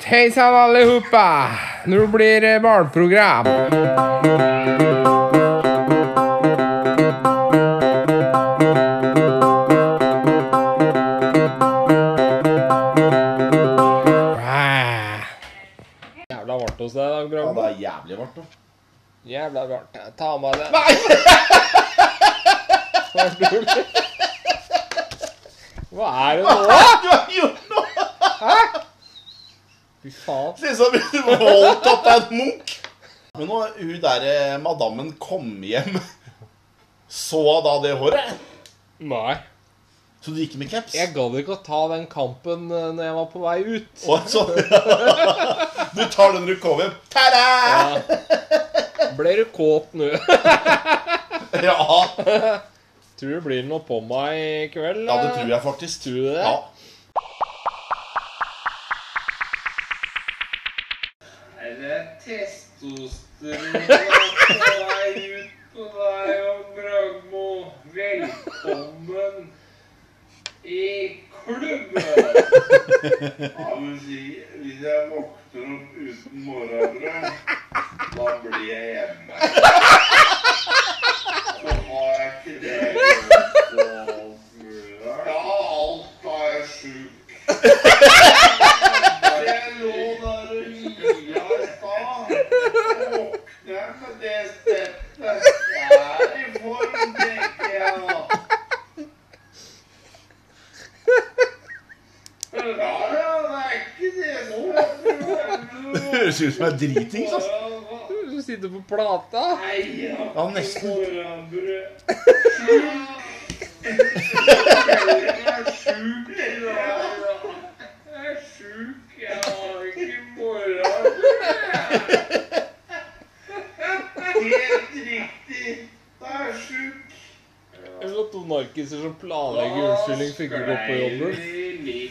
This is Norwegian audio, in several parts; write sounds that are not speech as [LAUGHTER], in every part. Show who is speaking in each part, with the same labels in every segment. Speaker 1: Hei sann, alle hoppa! Nå blir det barneprogram. Ah, Jævla varmt hos deg i dag,
Speaker 2: Ja,
Speaker 1: Granberg.
Speaker 2: det er jævlig varmt, da.
Speaker 1: Jævla varmt. Jeg tar meg det.
Speaker 2: Nei!
Speaker 1: Hva er det Hva er det nå?
Speaker 2: Du har gjort noe!
Speaker 1: Fy faen.
Speaker 2: Ser ut som du var holdt opp av en munk. Men når hun der eh, madammen kom hjem, så hun da det håret?
Speaker 1: Nei.
Speaker 2: Så du gikk med caps?
Speaker 1: Jeg gadd ikke å ta den kampen eh, når jeg var på vei ut.
Speaker 2: Og så, du tar den du kom hjem. Ta-da!
Speaker 1: Ble du kåt nå? [LAUGHS]
Speaker 2: Ja. ja,
Speaker 1: Tror du blir noe på meg i kveld? eh?
Speaker 2: det tror jeg faktisk.
Speaker 1: Tror du det?
Speaker 2: Ja.
Speaker 3: Er det testosteron på vei ut på deg og Bragmo? Velkommen i klubben! Ja, men si, hvis jeg våkner opp uten morgenbrød, da blir jeg hjemme. Så har jeg ikke det. og alt mulig der. Ja, alt da er jeg sjuk. Når jeg lå der og lia i stad, så våkner jeg med det steppet. Jeg er i form, tenker jeg da. Ja, ja, det er ikke det nå.
Speaker 2: Det høres ut som jeg er dritings, altså.
Speaker 3: altså.
Speaker 1: Du sitter på plata.
Speaker 3: Nei, ja.
Speaker 2: Ja, nesten.
Speaker 1: Jeg vil at to narkiser som planlegger unnskyldning, fikk ikke gå på jobben.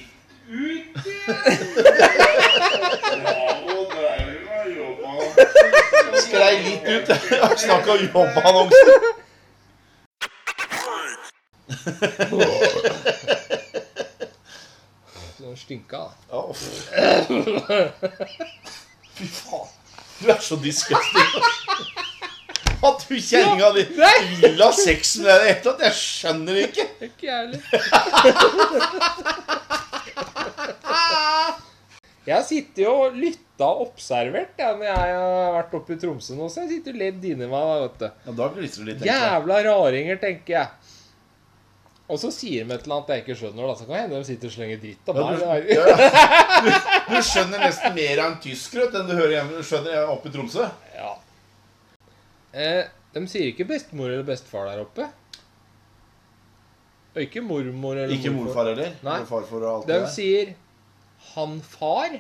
Speaker 2: Sklei litt ut. Snakka om jobbannonsen.
Speaker 1: Så Den stinka. da.
Speaker 2: Ja, uff. [LAUGHS] Fy faen. Du er så disgusting. At du kjenninga di vil ha sex med deg i det hele tatt, jeg skjønner det ikke.
Speaker 1: Det er Ikke jeg heller. [LAUGHS] Jeg sitter jo og lytta og observert jeg, når jeg har vært oppe i Tromsø nå. Så jeg sitter og ledd inni meg. da, vet du.
Speaker 2: Ja, da gliser du litt.
Speaker 1: Jævla raringer, tenker jeg. Og så sier de et eller annet jeg ikke skjønner. da, Så kan hende de sitter og slenger dritt av meg.
Speaker 2: du,
Speaker 1: det er-
Speaker 2: du skjønner nesten mer av en tysker vet du, enn du hører hjemme, du skjønner oppe i Tromsø.
Speaker 1: Ja. Eh, de sier ikke bestemor eller bestefar der oppe. Og ikke mormor eller
Speaker 2: Ikke morfar heller.
Speaker 1: Nei.
Speaker 2: Eller farfar og alt
Speaker 1: De
Speaker 2: det der.
Speaker 1: sier 'han far'.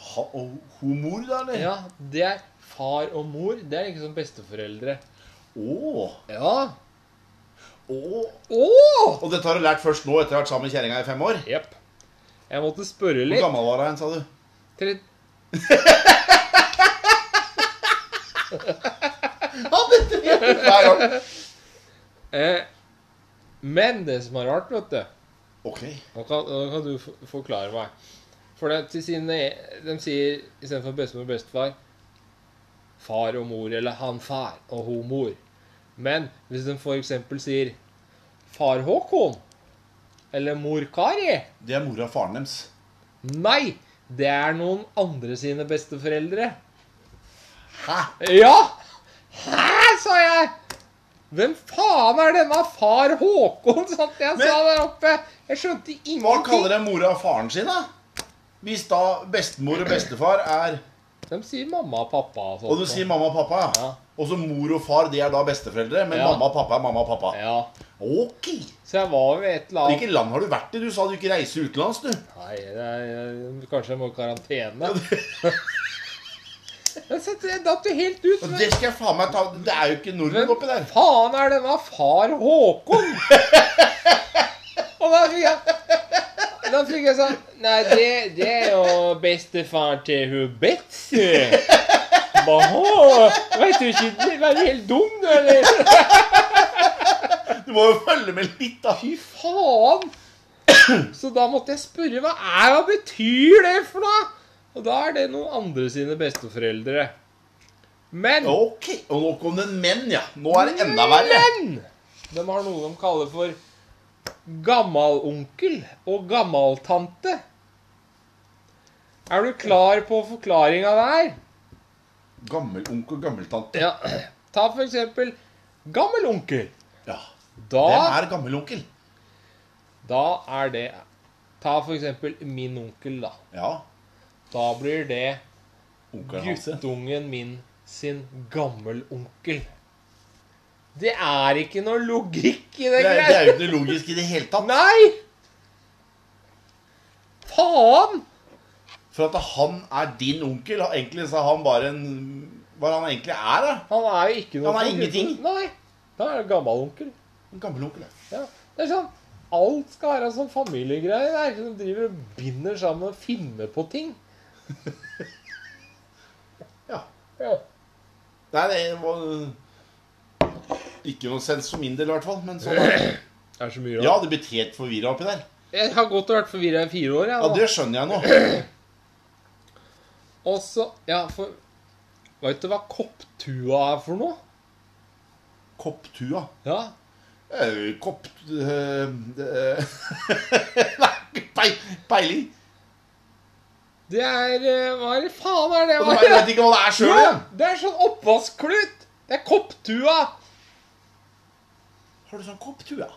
Speaker 2: Ha, og hun mor, da, eller?
Speaker 1: Ja, det er far og mor. Det er ikke som besteforeldre.
Speaker 2: Å,
Speaker 1: Ja.
Speaker 2: å.
Speaker 1: Åh!
Speaker 2: Og dette har du lært først nå, etter å ha vært sammen med kjerringa i fem år?
Speaker 1: Jepp. Jeg måtte spørre
Speaker 2: Hvor
Speaker 1: litt.
Speaker 2: gammel var hun, sa du? [LAUGHS]
Speaker 1: Tre-
Speaker 2: Ja, dette vet du hver gang.
Speaker 1: Eh, men det som er rart, vet du
Speaker 2: Ok.
Speaker 1: Nå kan, nå kan du f- forklare meg. For det, til sine, de sier istedenfor bestemor og bestefar far og mor, eller han far og hun mor. Men hvis de f.eks. sier far Håkon eller mor Kari
Speaker 2: Det er mora og faren deres.
Speaker 1: Nei! Det er noen andre sine besteforeldre.
Speaker 2: Hæ?
Speaker 1: Ja! Hæ, sa jeg! Hvem faen er denne far Håkon, satt jeg og sa der oppe? Jeg skjønte ingenting.
Speaker 2: Hva kaller de mora og faren sin, da? Hvis da bestemor og bestefar er
Speaker 1: De sier mamma og pappa og sånt.
Speaker 2: Og du sier mamma og pappa.
Speaker 1: Ja.
Speaker 2: Og så mor og far, de er da besteforeldre. Men
Speaker 1: Ja.
Speaker 2: mamma og pappa er mamma og pappa.
Speaker 1: Ja.
Speaker 2: Ok!
Speaker 1: Så jeg var ved et eller annet
Speaker 2: Hvilket land har du vært i? Du sa du ikke reiser utenlands, du.
Speaker 1: Nei, det er, eh, kanskje jeg må i karantene. [LAUGHS] Men så det datt jo helt ut.
Speaker 2: Og
Speaker 1: Men
Speaker 2: det skal jeg faen meg ta Det er jo ikke nordmenn oppi
Speaker 1: hvem
Speaker 2: der.
Speaker 1: faen er denne far Håkon? Og da fikk jeg Da fikk jeg sånn Nei, det, det er jo bestefaren til hun Betsy. Baha, vet du ikke det? Er du helt dum, du, eller?
Speaker 2: Du må jo følge med litt, da.
Speaker 1: Fy faen! Så da måtte jeg spørre hva er, hva betyr det for noe? Og da er det noen andre sine besteforeldre. Men
Speaker 2: Ok, og nå kom det en menn, ja. Nå er det enda verre.
Speaker 1: Men de har noe de kaller for gammalonkel og gammaltante. Er du klar på forklaringa der?
Speaker 2: Gammel onkel, gammeltante.
Speaker 1: Ja. Ta for eksempel gammel onkel.
Speaker 2: Ja. Hvem
Speaker 1: Da,
Speaker 2: er gammel onkel?
Speaker 1: da er det Ta for eksempel min onkel, da.
Speaker 2: Ja.
Speaker 1: Da blir det
Speaker 2: Onkel Hanse.
Speaker 1: guttungen min sin gammelonkel. Det er ikke noe logikk i det
Speaker 2: Det er, det
Speaker 1: greia.
Speaker 2: er jo ikke logisk i det hele tatt.
Speaker 1: Nei! Faen!
Speaker 2: For at han er din onkel, har egentlig så er han bare en Hva han egentlig er, da.
Speaker 1: Han er jo ikke noe sånn
Speaker 2: Han er ingenting.
Speaker 1: Nei. Da er det gammelonkel.
Speaker 2: En gammel onkel. ja.
Speaker 1: Ja. Det er sånn Alt skal være sånn familiegreier. Det er ikke som driver og binder sammen og finner på ting.
Speaker 2: Ja.
Speaker 1: Ja.
Speaker 2: Nei, det var Ikke noe sens for min del, i hvert fall. Men sånn er det.
Speaker 1: Det er så mye
Speaker 2: Jeg
Speaker 1: rart.
Speaker 2: hadde blitt helt forvirra oppi der.
Speaker 1: Jeg har godt vært forvirra i fire år, jeg.
Speaker 2: Ja,
Speaker 1: da.
Speaker 2: det skjønner jeg nå.
Speaker 1: Og så Ja, for Veit du hva kopptua er for noe?
Speaker 2: Kopptua.
Speaker 1: Ja.
Speaker 2: Eh, Kopp... eh, eh, [LAUGHS] Nei, ikke pei- peiling.
Speaker 1: Det er eh, Hva er det faen er det?
Speaker 2: Og du
Speaker 1: [LAUGHS]
Speaker 2: vet ikke hva det er sjøl
Speaker 1: Ja,
Speaker 2: igjen.
Speaker 1: det er sånn oppvaskklut! Det er kopptua!
Speaker 2: Har du sånn kopptua?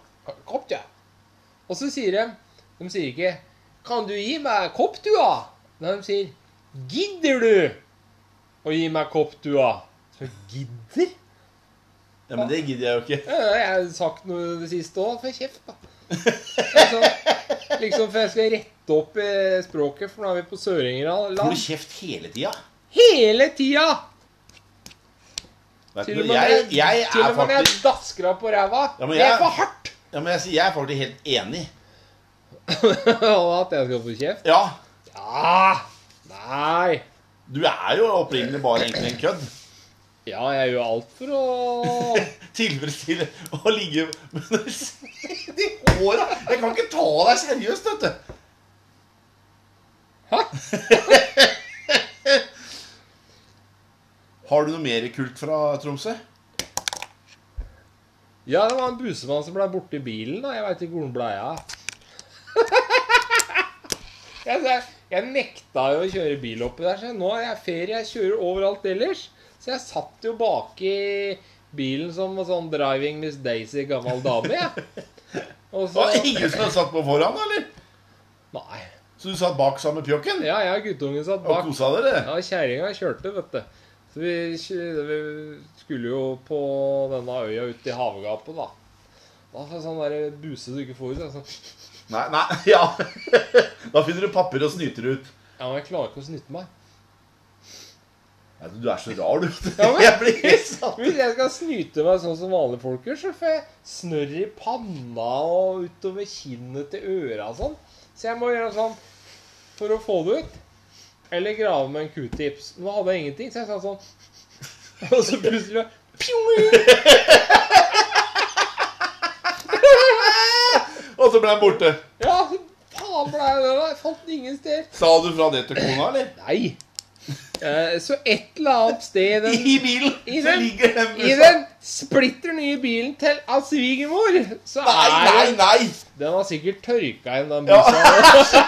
Speaker 1: Kopptua. Og så sier de De sier ikke 'Kan du gi meg kopptua?' Nei, de sier 'Gidder du å gi meg kopptua?' Så gidder?
Speaker 2: Ja, men det gidder jeg jo ikke.
Speaker 1: Ja, det har jeg sagt noe det siste òg. For kjeft, da. Altså, liksom, for jeg skal rette opp eh, språket, for nå er vi på
Speaker 2: Får du
Speaker 1: Sørengeland.
Speaker 2: kjeft hele tida?
Speaker 1: Hele tida!
Speaker 2: Vet
Speaker 1: Til
Speaker 2: du,
Speaker 1: og med
Speaker 2: jeg,
Speaker 1: når
Speaker 2: jeg
Speaker 1: jeg, til
Speaker 2: er
Speaker 1: og med når jeg
Speaker 2: faktisk
Speaker 1: dasker av på ræva.
Speaker 2: Ja, men
Speaker 1: det
Speaker 2: jeg-
Speaker 1: er for hardt!
Speaker 2: Ja, men jeg, sier- jeg er faktisk helt enig.
Speaker 1: [LAUGHS] Og At jeg skal få kjeft?
Speaker 2: Ja,
Speaker 1: Ja! Nei.
Speaker 2: du er jo opprinnelig bare egentlig en
Speaker 1: [LAUGHS]
Speaker 2: kødd.
Speaker 1: Ja, jeg gjør alt for å
Speaker 2: Tilfredsstille å ligge med de håra Jeg kan ikke ta deg seriøst, vet du.
Speaker 1: Hæ?
Speaker 2: [LAUGHS] Har du noe mer kult fra Tromsø?
Speaker 1: Ja, det var en busemann som ble borte i bilen, da. Jeg veit ikke hvor han ble av. [LAUGHS] jeg, jeg, jeg nekta jo å kjøre bil oppi der, så nå er jeg ferie. Jeg kjører overalt ellers. Så jeg satt jo baki bilen som en sånn Driving Miss Daisy, gammel dame, jeg.
Speaker 2: [LAUGHS]
Speaker 1: Og
Speaker 2: Det
Speaker 1: så
Speaker 2: var ingen som hadde satt på foran, eller?
Speaker 1: Nei.
Speaker 2: Så du satt bak sammen med pjokken?
Speaker 1: Ja, jeg og guttungen satt
Speaker 2: Og
Speaker 1: bak.
Speaker 2: kosa dere?
Speaker 1: Ja, kjerringa kjørte, vet du. Så vi, kjø- vi skulle jo på denne øya ute i havgapet, da. Da får jeg sånn der buse du ikke får ut. Altså.
Speaker 2: Nei, nei, [LAUGHS] ja. Da finner du papir og snyter ut.
Speaker 1: Ja, men jeg klarer ikke å snytte meg.
Speaker 2: Nei, Du er så rar, du.
Speaker 1: Ja, men-
Speaker 2: [LAUGHS] Jeg blir helt satt
Speaker 1: Hvis jeg skal snyte meg sånn som vanlige folk gjør, så får jeg snørr i panna og utover kinnet til øra og sånn. Så jeg må gjøre sånn for å få det ut. Eller grave med en q-tips. Nå hadde jeg ingenting, så jeg sa sånn. [LAUGHS] Og så plutselig pjong!
Speaker 2: Og så ble han borte.
Speaker 1: Ja, så faen blei det der. Jeg fant den ingen steder.
Speaker 2: Sa du fra det til kona, eller?
Speaker 1: Nei. Eh, Så et eller annet sted i
Speaker 2: [LAUGHS]
Speaker 1: den,
Speaker 2: I bilen
Speaker 1: I
Speaker 2: så
Speaker 1: den-
Speaker 2: ligger den sånn.
Speaker 1: i
Speaker 2: bussen.
Speaker 1: den splitter nye bilen til av svigermor, så
Speaker 2: Nei, nei,
Speaker 1: er det
Speaker 2: nei!
Speaker 1: Den har sikkert tørka igjen, den
Speaker 2: Ja.
Speaker 1: bussa.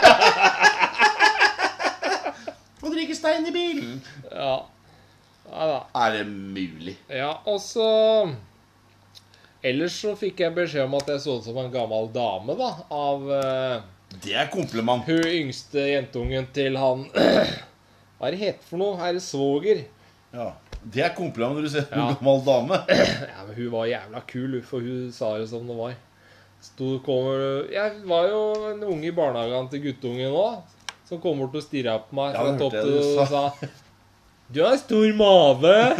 Speaker 2: Må drikke stein i bilen.
Speaker 1: Ja. Ja, da.
Speaker 2: Er det mulig?
Speaker 1: ja, og så Ellers så fikk jeg beskjed om at jeg så ut som en gammel dame, da. Av eh,
Speaker 2: Det er kompliment.
Speaker 1: hun yngste jentungen til han [CLEARS THROAT] Hva er det heter for noe? Er det svoger?
Speaker 2: Ja. Det er kompliment når du ser
Speaker 1: Ja.
Speaker 2: en gammel dame.
Speaker 1: Ja, men hun var jævla kul, hun, for hun sa det som det var. Sto, kommer, jeg var jo en unge i barnehagen til guttungen òg, som kom bort og stirra på meg
Speaker 2: Ja,
Speaker 1: fra
Speaker 2: det
Speaker 1: topp
Speaker 2: hørte jeg
Speaker 1: til
Speaker 2: du
Speaker 1: og sa Du har stor mage.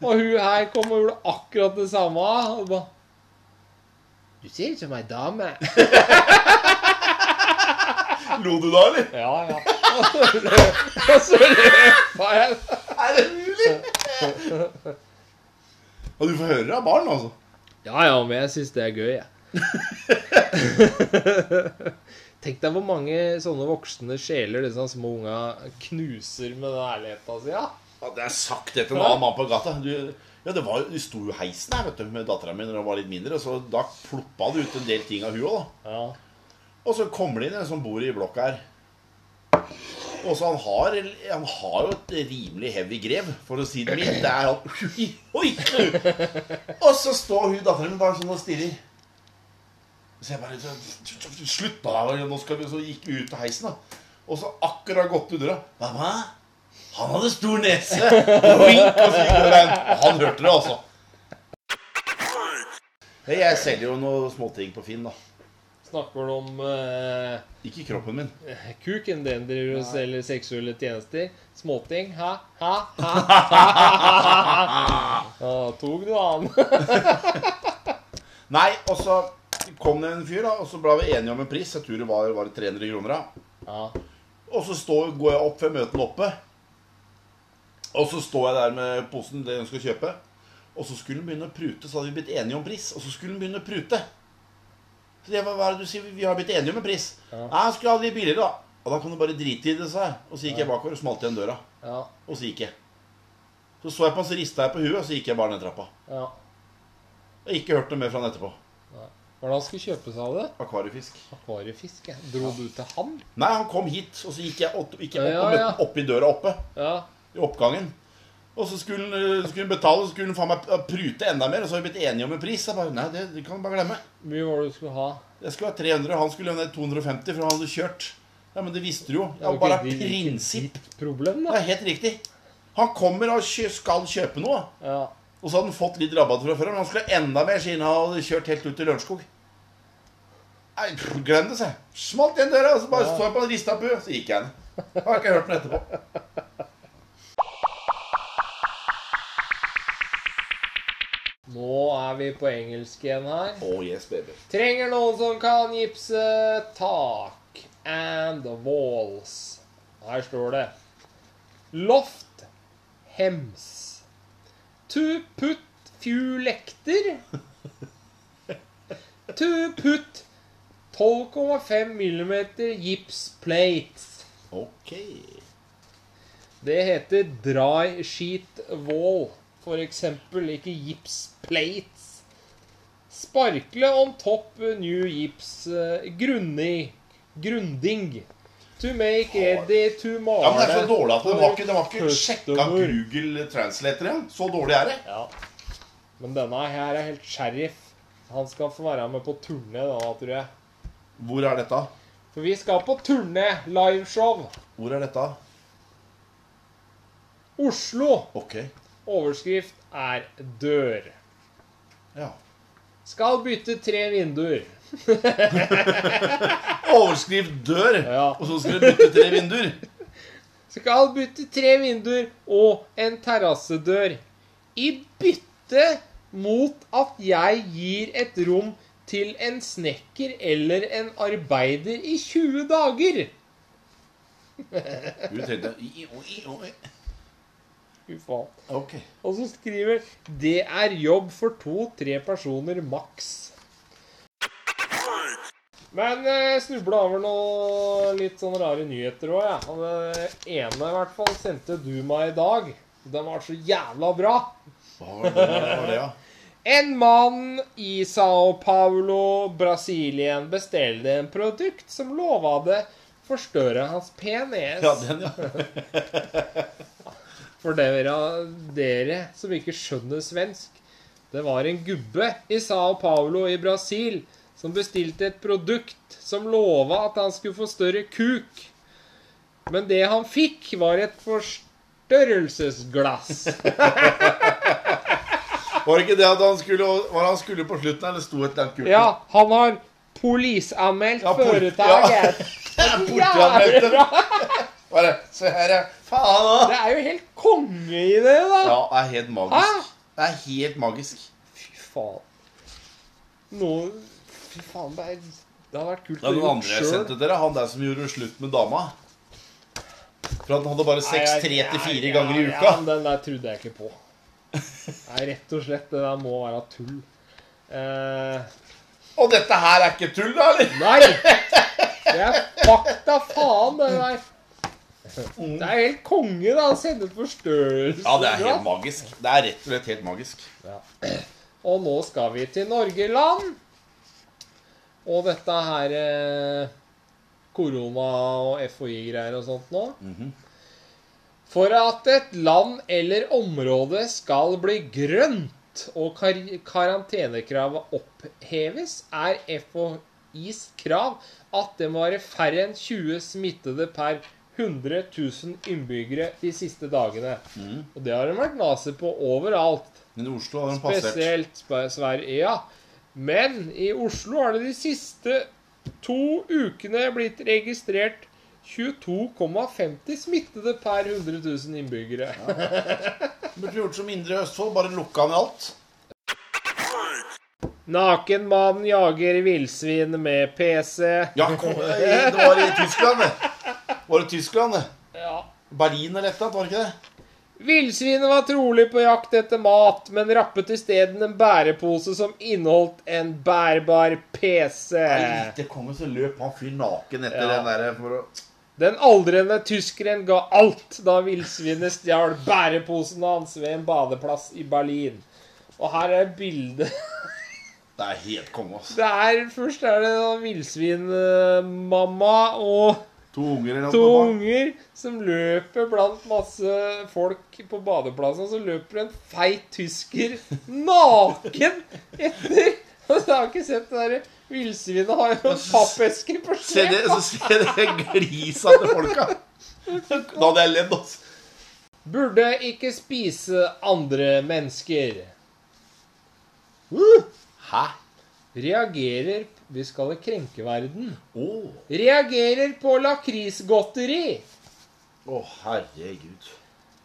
Speaker 1: og hun her kom og gjorde akkurat det samme. Og ba, du ser ut som ei dame.
Speaker 2: Lo du da, eller?
Speaker 1: Ja, ja. Og så løp- og så løpa [LAUGHS] jeg.
Speaker 2: Er det mulig? Og du får høre det av barn, altså. [LAUGHS]
Speaker 1: Ja ja, men jeg syns det er gøy, jeg. Tenk deg hvor mange sånne voksne sjeler disse små unga knuser med den ærligheta si. Ja.
Speaker 2: Hadde jeg sagt det til en annen mann på gata du, ja, det var, jo- det sto jo i heisen her vet du, med dattera mi når hun var litt mindre, så da ploppa det ut en del ting av hun òg.
Speaker 1: Ja.
Speaker 2: Og så kommer det inn en som bor i blokka her. Og så han har, han har jo et rimelig heavy grev, for å si det mildt. Det er han Oi! oi. Og så står hun datteren min bare sånn og stirrer. Så jeg bare så- Slutt nå, da. Nå skal vi Så gikk vi ut av heisen, da. Og så akkurat gått ut døra. Mamma, han hadde stor nese. Og Vink, og så gikk hun veien. Og han hørte det, altså. Hei, Jeg selger jo noen småting på Finn, da.
Speaker 1: Snakker du om eh,
Speaker 2: Ikke kroppen min.
Speaker 1: kuken din driver og selger seksuelle tjenester? Småting? Hæ? Hæ?
Speaker 2: [LAUGHS]
Speaker 1: Hæ? Ja, tok du
Speaker 2: [LAUGHS]
Speaker 1: han?
Speaker 2: Nei, og så kom det en fyr, da, og så ble vi enige om en pris. Jeg tror det var, var det 300 kroner. da.
Speaker 1: Ja.
Speaker 2: Og så står, går jeg opp ved møtene oppe. Og så står jeg der med posen det hun skal kjøpe. Og så skulle hun begynne å prute, så hadde vi blitt enige om pris. Og så skulle hun begynne å prute. Så jeg, bare, hva er det du sier? Vi har blitt enige om en pris.
Speaker 1: Ja.
Speaker 2: Nei, han skulle ha det litt billigere, da. Og da kan du bare drite i det, sa jeg. Og så gikk jeg bakover og smalt igjen døra.
Speaker 1: Ja.
Speaker 2: Og så gikk jeg. Så så jeg på han, så rista jeg på huet, og så gikk jeg bare ned trappa.
Speaker 1: ja.
Speaker 2: Jeg har ikke hørt noe mer fra han etterpå.
Speaker 1: Hva er det han skulle kjøpe seg av det?
Speaker 2: Akvariefisk.
Speaker 1: Akvariefisk? ja. Dro du til han?
Speaker 2: Nei, han kom hit, og så gikk jeg opp, gikk jeg opp
Speaker 1: Ja,
Speaker 2: og
Speaker 1: ja.
Speaker 2: møtte han oppe i døra oppe.
Speaker 1: Ja.
Speaker 2: I oppgangen. Og så skulle han, eh, skulle han betale, så skulle han faen meg p- prute enda mer. Og så har vi blitt enige om en pris. Jeg bare, nei, det, det kan du bare glemme.
Speaker 1: Hvor mye var det du skulle ha?
Speaker 2: Jeg skulle ha 300, og han skulle ha ned 250, for han hadde kjørt. Ja, men det visste du jo.
Speaker 1: er
Speaker 2: Det
Speaker 1: jo
Speaker 2: var bare
Speaker 1: ikke ditt-
Speaker 2: prinsipp.
Speaker 1: ditt Problem,
Speaker 2: Det
Speaker 1: da.
Speaker 2: er helt riktig. Han kommer og kjø- skal kjøpe noe.
Speaker 1: Ja.
Speaker 2: Og så hadde han fått litt rabatt fra før, men han skulle ha enda mer siden han hadde kjørt helt ut til Lørenskog. Nei, pff, glem det, sa jeg. Smalt igjen døra, og så bare
Speaker 1: Ja.
Speaker 2: så jeg på han rista på huet, så gikk jeg ned. Jeg har ikke hørt noe etterpå.
Speaker 1: Nå er vi på engelsk igjen her.
Speaker 2: Oh yes, baby.
Speaker 1: Trenger noen som kan gipse tak and walls. Her står det Loft hems. To put few lekter. To put 12,5 millimeter gips plates.
Speaker 2: Ok.
Speaker 1: Det heter dry sheet wall, for eksempel, ikke gips plates. Sparkle on top new gips eh, grunni, grunding. To make ready to male.
Speaker 2: Ja, men det er så dårlig at det var ikke, det var ikke sjekka
Speaker 1: Customer.
Speaker 2: Google Translator igjen. Så dårlig er det.
Speaker 1: Ja. Men denne her er helt sheriff. Han skal få være med på turné, denne, tror jeg.
Speaker 2: Hvor er dette?
Speaker 1: For vi skal på turné, liveshow.
Speaker 2: Hvor er dette?
Speaker 1: Oslo.
Speaker 2: Ok.
Speaker 1: Overskrift er 'Dør'.
Speaker 2: Ja.
Speaker 1: Skal bytte tre vinduer.
Speaker 2: Overskrift 'dør',
Speaker 1: Ja.
Speaker 2: og så skal du bytte tre vinduer.
Speaker 1: skal bytte tre vinduer og en terrassedør. I bytte mot at jeg gir et rom til en snekker eller en arbeider i 20 dager.
Speaker 2: Du tenkte i- i- i- i-
Speaker 1: Fy faen.
Speaker 2: Ok.
Speaker 1: Og så skriver Det er jobb for to-tre personer maks. Men eh, snubla over noe litt sånn rare nyheter òg, jeg. Og det eh, ene i hvert fall sendte du meg i dag. Den var så jævla bra.
Speaker 2: Hva var det, hva var det ja?
Speaker 1: En mann i Sao Paulo, Brasilien, bestilte en produkt som lova det forstørre hans penis.
Speaker 2: ja, den, ja.
Speaker 1: For dere, dere som ikke skjønner svensk, det var en gubbe i Sao Paulo i Brasil som bestilte et produkt som lova at han skulle få større kuk. Men det han fikk, var et
Speaker 2: [LAUGHS]
Speaker 1: forstørrelsesglass.
Speaker 2: Var det ikke det at han skulle, var det han skulle på slutten, eller sto et eller annet kult?
Speaker 1: Ja, han har polisanmeldt
Speaker 2: Ja, pol-
Speaker 1: foretaket.
Speaker 2: [LAUGHS] Bortianmeldte. Bare, se her, ja. Faen òg.
Speaker 1: Det er jo helt konge i det, da!
Speaker 2: Ja, det er helt
Speaker 1: Hæ?
Speaker 2: magisk. Det er helt magisk.
Speaker 1: Fy faen. Nå Fy faen, det, er, det hadde vært kult
Speaker 2: Det er noen andre jeg
Speaker 1: selv.
Speaker 2: sendte dere. Han der som gjorde slutt med dama. For han hadde bare sex
Speaker 1: Nei,
Speaker 2: tre
Speaker 1: jeg-
Speaker 2: til
Speaker 1: nei,
Speaker 2: fire ganger i
Speaker 1: ja,
Speaker 2: uka.
Speaker 1: men den der trodde jeg ikke
Speaker 2: [LAUGHS]
Speaker 1: på. Nei, rett og slett. Det der må være tull. Eh,
Speaker 2: Og dette her er ikke tull, da? eller?
Speaker 1: nei! Det er fakta faen, det der. Det er helt konge, da. å Sende ut forstørrelse.
Speaker 2: Mm. Ja, det er helt magisk. Det er rett og slett helt magisk.
Speaker 1: Og nå skal vi til Norgeland. Og dette her eh, korona og FHI-greier og sånt nå. For at et land eller område skal bli grønt og kar karantenekravet oppheves, er FHIs krav at det må være færre enn 20 smittede per 100 000 innbyggere de siste dagene. Og det har de vært nase på overalt.
Speaker 2: Men Oslo har den passert.
Speaker 1: Spesielt Sp- Sverige, ja. Men i Oslo har det de siste to ukene blitt registrert 22,50 smittede per 100 000 innbyggere.
Speaker 2: Burde gjort som Indre Østfold, bare lukka ned alt.
Speaker 1: Nakenmannen jager villsvin med PC.
Speaker 2: Ja, kom, eh, [LAUGHS] det var i Tyskland, det. Var det Tyskland, det?
Speaker 1: Ja.
Speaker 2: Berlin eller et eller annet, var det ikke det?
Speaker 1: Villsvinet var trolig på jakt etter mat, men rappet isteden en bærepose som inneholdt en bærbar
Speaker 2: Nei,
Speaker 1: PC.
Speaker 2: det kom jo så løp han fyr naken etter
Speaker 1: Ja.
Speaker 2: den der for å
Speaker 1: Den aldrende tyskeren ga alt da villsvinet stjal bæreposen hans ved en badeplass i Berlin. Og her er bildet [LAUGHS]
Speaker 2: Det er helt konge, ass.
Speaker 1: Det er Først er det da villsvinmamma og
Speaker 2: To unger eller
Speaker 1: to
Speaker 2: noe.
Speaker 1: unger som løper blant masse folk på badeplassen. Og så løper en feit tysker naken etter [LAUGHS] Og så har jeg ikke sett det derre Villsvinet har jo en pappeske på
Speaker 2: Se det,
Speaker 1: slep.
Speaker 2: så ser det glisa til folka. [LAUGHS] Da hadde jeg ledd, ass.
Speaker 1: Burde ikke spise andre mennesker.
Speaker 2: Hæ?
Speaker 1: Reagerer Vi skal krenke verden.
Speaker 2: Å,
Speaker 1: Reagerer på lakrisgodteri.
Speaker 2: Å, herregud.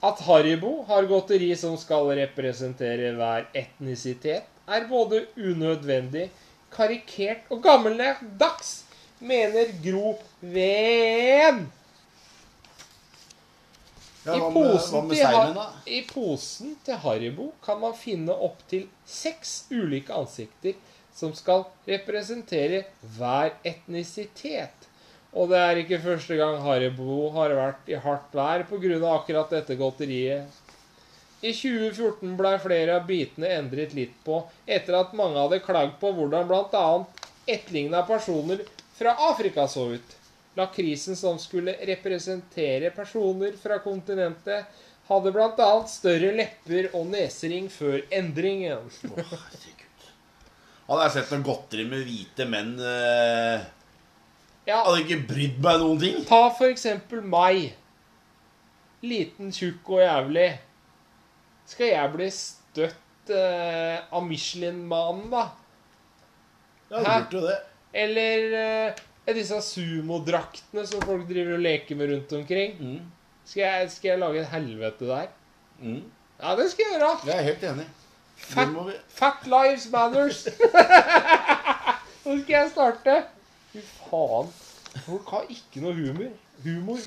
Speaker 1: At Haribo har godteri som skal representere hver etnisitet, er både unødvendig, karikert og gammeldags, mener Gro Ven.
Speaker 2: Ja,
Speaker 1: I
Speaker 2: hva med, hva
Speaker 1: posen,
Speaker 2: med
Speaker 1: til Har-
Speaker 2: seimen, da?
Speaker 1: I posen til Haribo kan man finne opptil seks ulike ansikter som skal representere hver etnisitet. Og det er ikke første gang Haribo har vært i hardt vær pga. akkurat dette godteriet. I 2014 blei flere av bitene endret litt på, etter at mange hadde klagd på hvordan bl.a. etterligna personer fra Afrika så ut. Lakrisen som skulle representere personer fra kontinentet, hadde bl.a. større lepper og nesering før endringen.
Speaker 2: Å, herregud. Hadde jeg sett noe godteri med hvite menn eh,
Speaker 1: Ja,
Speaker 2: Hadde ikke brydd meg noen ting.
Speaker 1: ta for eksempel meg. Liten, tjukk og jævlig. Skal jeg bli støtt eh, av Michelin-mannen, da?
Speaker 2: Ja, du
Speaker 1: Hæ?
Speaker 2: burde jo det.
Speaker 1: Eller eh, disse sumodraktene som folk driver og leker med rundt omkring?
Speaker 2: Mm.
Speaker 1: Skal jeg, skal jeg lage et helvete der?
Speaker 2: Mm.
Speaker 1: Ja, det skal jeg gjøre.
Speaker 2: Jeg er helt enig. Det må vi...
Speaker 1: Fat Lives Matters. Nå skal jeg starte. Fy faen. Folk har ikke noe humor. humor.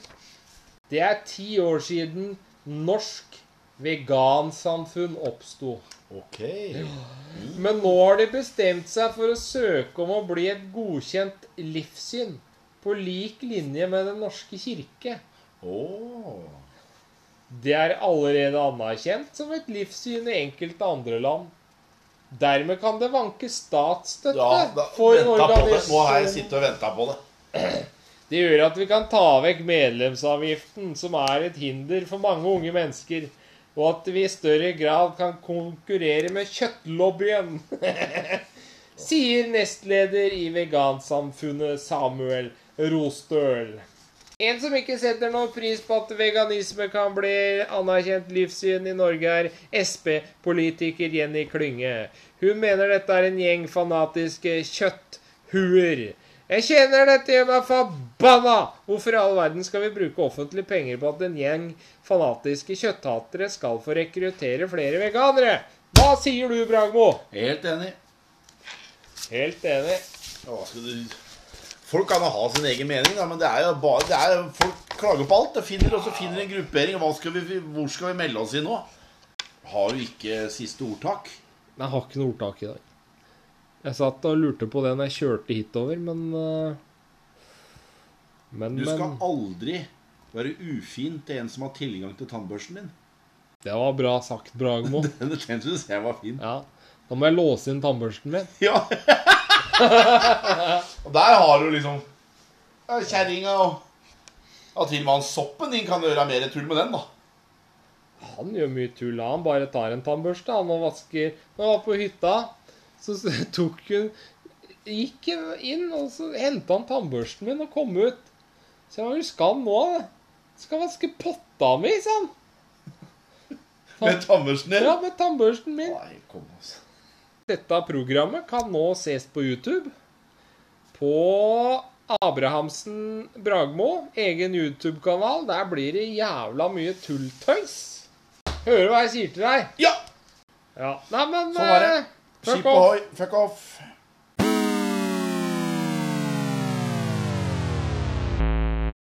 Speaker 1: Det er ti år siden norsk vegansamfunn oppsto.
Speaker 2: Ok.
Speaker 1: Men nå har de bestemt seg for å søke om å bli et godkjent livssyn. På lik linje med Den norske kirke.
Speaker 2: Åh.
Speaker 1: Det er allerede anerkjent som et livssyn i enkelte andre land. Dermed kan det vanke statsstøtte
Speaker 2: Ja, da,
Speaker 1: for en
Speaker 2: ventet på det. Nå har jeg
Speaker 1: organisasjon.
Speaker 2: sittet og venta på det.
Speaker 1: Det gjør at vi kan ta vekk medlemsavgiften, som er et hinder for mange unge mennesker, og at vi i større grad kan konkurrere med kjøttlobbyen. [LAUGHS] Sier nestleder i Vegansamfunnet Samuel Rostøl. En som ikke setter noe pris på at veganisme kan bli anerkjent livssyn i Norge, er Sp-politiker Jenny Klynge. Hun mener dette er en gjeng fanatiske kjøtthuer. Jeg kjenner dette gjør meg forbanna! Hvorfor i all verden skal vi bruke offentlige penger på at en gjeng fanatiske kjøtthatere skal få rekruttere flere veganere? Hva sier du, Bragmo?
Speaker 2: Helt enig.
Speaker 1: Helt enig.
Speaker 2: Ja, hva skal du... Folk kan jo ha sin egen mening, da, men det er jo bare det er, jo- Folk klager på alt. Det finner også finner en gruppering. Hva skal vi, hvor skal vi melde oss i nå? Har du ikke siste ordtak?
Speaker 1: Jeg har ikke noe ordtak i dag. Jeg satt og lurte på det når jeg kjørte hitover, men eh, Men,
Speaker 2: Du skal
Speaker 1: men
Speaker 2: aldri være ufin til en som har tilgang til tannbørsten din.
Speaker 1: Det var bra sagt,
Speaker 2: [LAUGHS]
Speaker 1: Bragmo.
Speaker 2: Den den syns jeg var fin.
Speaker 1: Ja. Da må jeg låse inn tannbørsten min.
Speaker 2: Ja. [LAUGHS] og der har du liksom ja, kjerringa og ja, til og med han soppen din kan gjøre mer tull med den, da.
Speaker 1: Han gjør mye tull. Han bare tar en tannbørste han og vasker. Når han var på hytta, så s- [LAUGHS] tok hun Gikk hun inn, og så henta han tannbørsten min og kom ut. Så jeg var jo skam nå. da? Skal vaske potta mi, sa han.
Speaker 2: Med tannbørsten din.
Speaker 1: Ja, med tannbørsten min.
Speaker 2: Nei, kom altså.
Speaker 1: Dette programmet kan nå ses på YouTube. På Abrahamsen Bragmo, egen YouTube-kanal. Der blir det jævla mye tulltøys. Hører du hva jeg sier til deg?
Speaker 2: Ja!
Speaker 1: Ja. Nei, men
Speaker 2: Sånn er det.
Speaker 1: eh, fuck
Speaker 2: Skip
Speaker 1: off.
Speaker 2: ohoi. Fuck off.